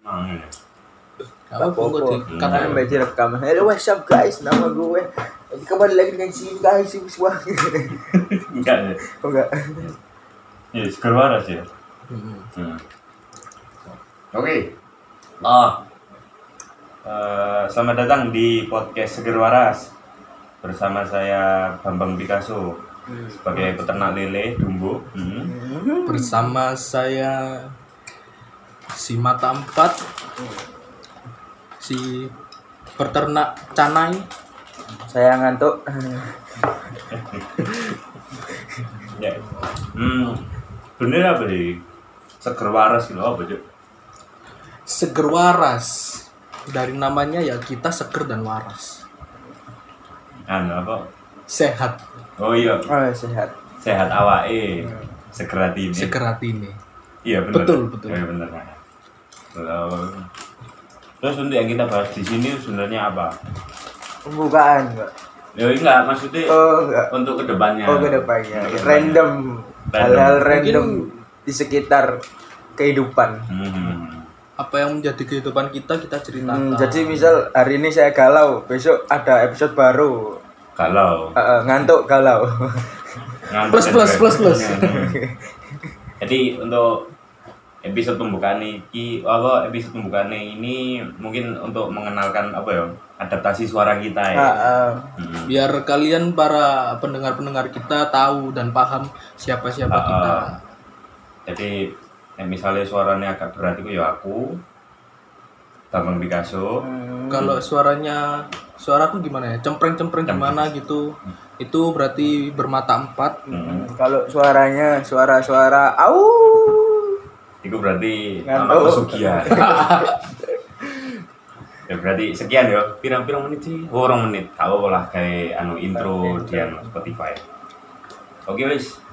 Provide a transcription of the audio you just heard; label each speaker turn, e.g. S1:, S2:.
S1: namanya
S2: Gak apa-apa kok
S1: Hmm.
S2: di cut
S1: Karena
S2: aja.
S3: Karena baca rekaman. Hello, what's up guys? Nama gue. Jadi kembali lagi dengan si guys si Wiswa.
S1: enggak ya
S3: Oh enggak.
S1: ya seger waras ya
S2: Hmm.
S1: Hmm. Oke. Ah. Eh, selamat datang di podcast Seger Waras bersama saya Bambang Picasso sebagai peternak lele Dumbo. Hmm.
S2: Bersama saya si mata empat, si peternak canai,
S3: Saya ngantuk.
S1: Ya. Hmm. Bener apa deh? Seger Waras gitu apa Cuk?
S2: seger waras. Dari namanya ya kita seger dan waras,
S1: Anu apa?
S2: sehat,
S1: Oh iya,
S3: Oh, sehat.
S1: sehat awake. Seger hati ini.
S2: seger hati ini.
S1: Iya benar.
S2: Betul, betul.
S1: Iya benar. Kalau Terus untuk yang kita bahas di sini sebenarnya apa?
S3: Pembukaan, Pak.
S1: Ya enggak, maksudnya
S3: Oh, enggak.
S1: untuk kedepannya.
S3: Oh, ke depannya.
S1: Untuk kedepannya.
S3: Random.
S1: Random.
S3: Hal-hal random
S2: Mungkin-
S3: di sekitar kehidupan.
S1: Hmm.
S2: Apa yang menjadi kehidupan kita kita ceritakan.
S3: Hmm, jadi misal hari ini saya galau, besok ada episode baru.
S1: Kalau
S3: Eh, eh, ngantuk galau.
S1: ngambek
S2: Plus,
S1: dan
S2: plus, plus, plus.
S1: sebagainya. kan Jadi untuk episode pembukaan ini apa episode pembukaan ini mungkin untuk mengenalkan apa ya adaptasi suara kita ya.
S3: Ah, ah.
S1: Hmm.
S2: biar kalian para pendengar-pendengar kita tahu dan paham siapa-siapa
S1: Ah,
S2: kita.
S1: ah. Jadi eh, misalnya suaranya agak berat itu ya aku Bambang Picasso
S3: Hmm.
S2: Kalau suaranya suaraku gimana ya? Cempreng-cempreng gimana gitu. Itu berarti bermata empat.
S1: hmm.
S3: Kalau suaranya suara-suara au.
S1: itu berarti
S3: Ngantuk.
S1: nama pesugihan ya berarti sekian ya pirang-pirang menit sih Oh, orang menit tahu lah kayak anu intro di anu Spotify oke wis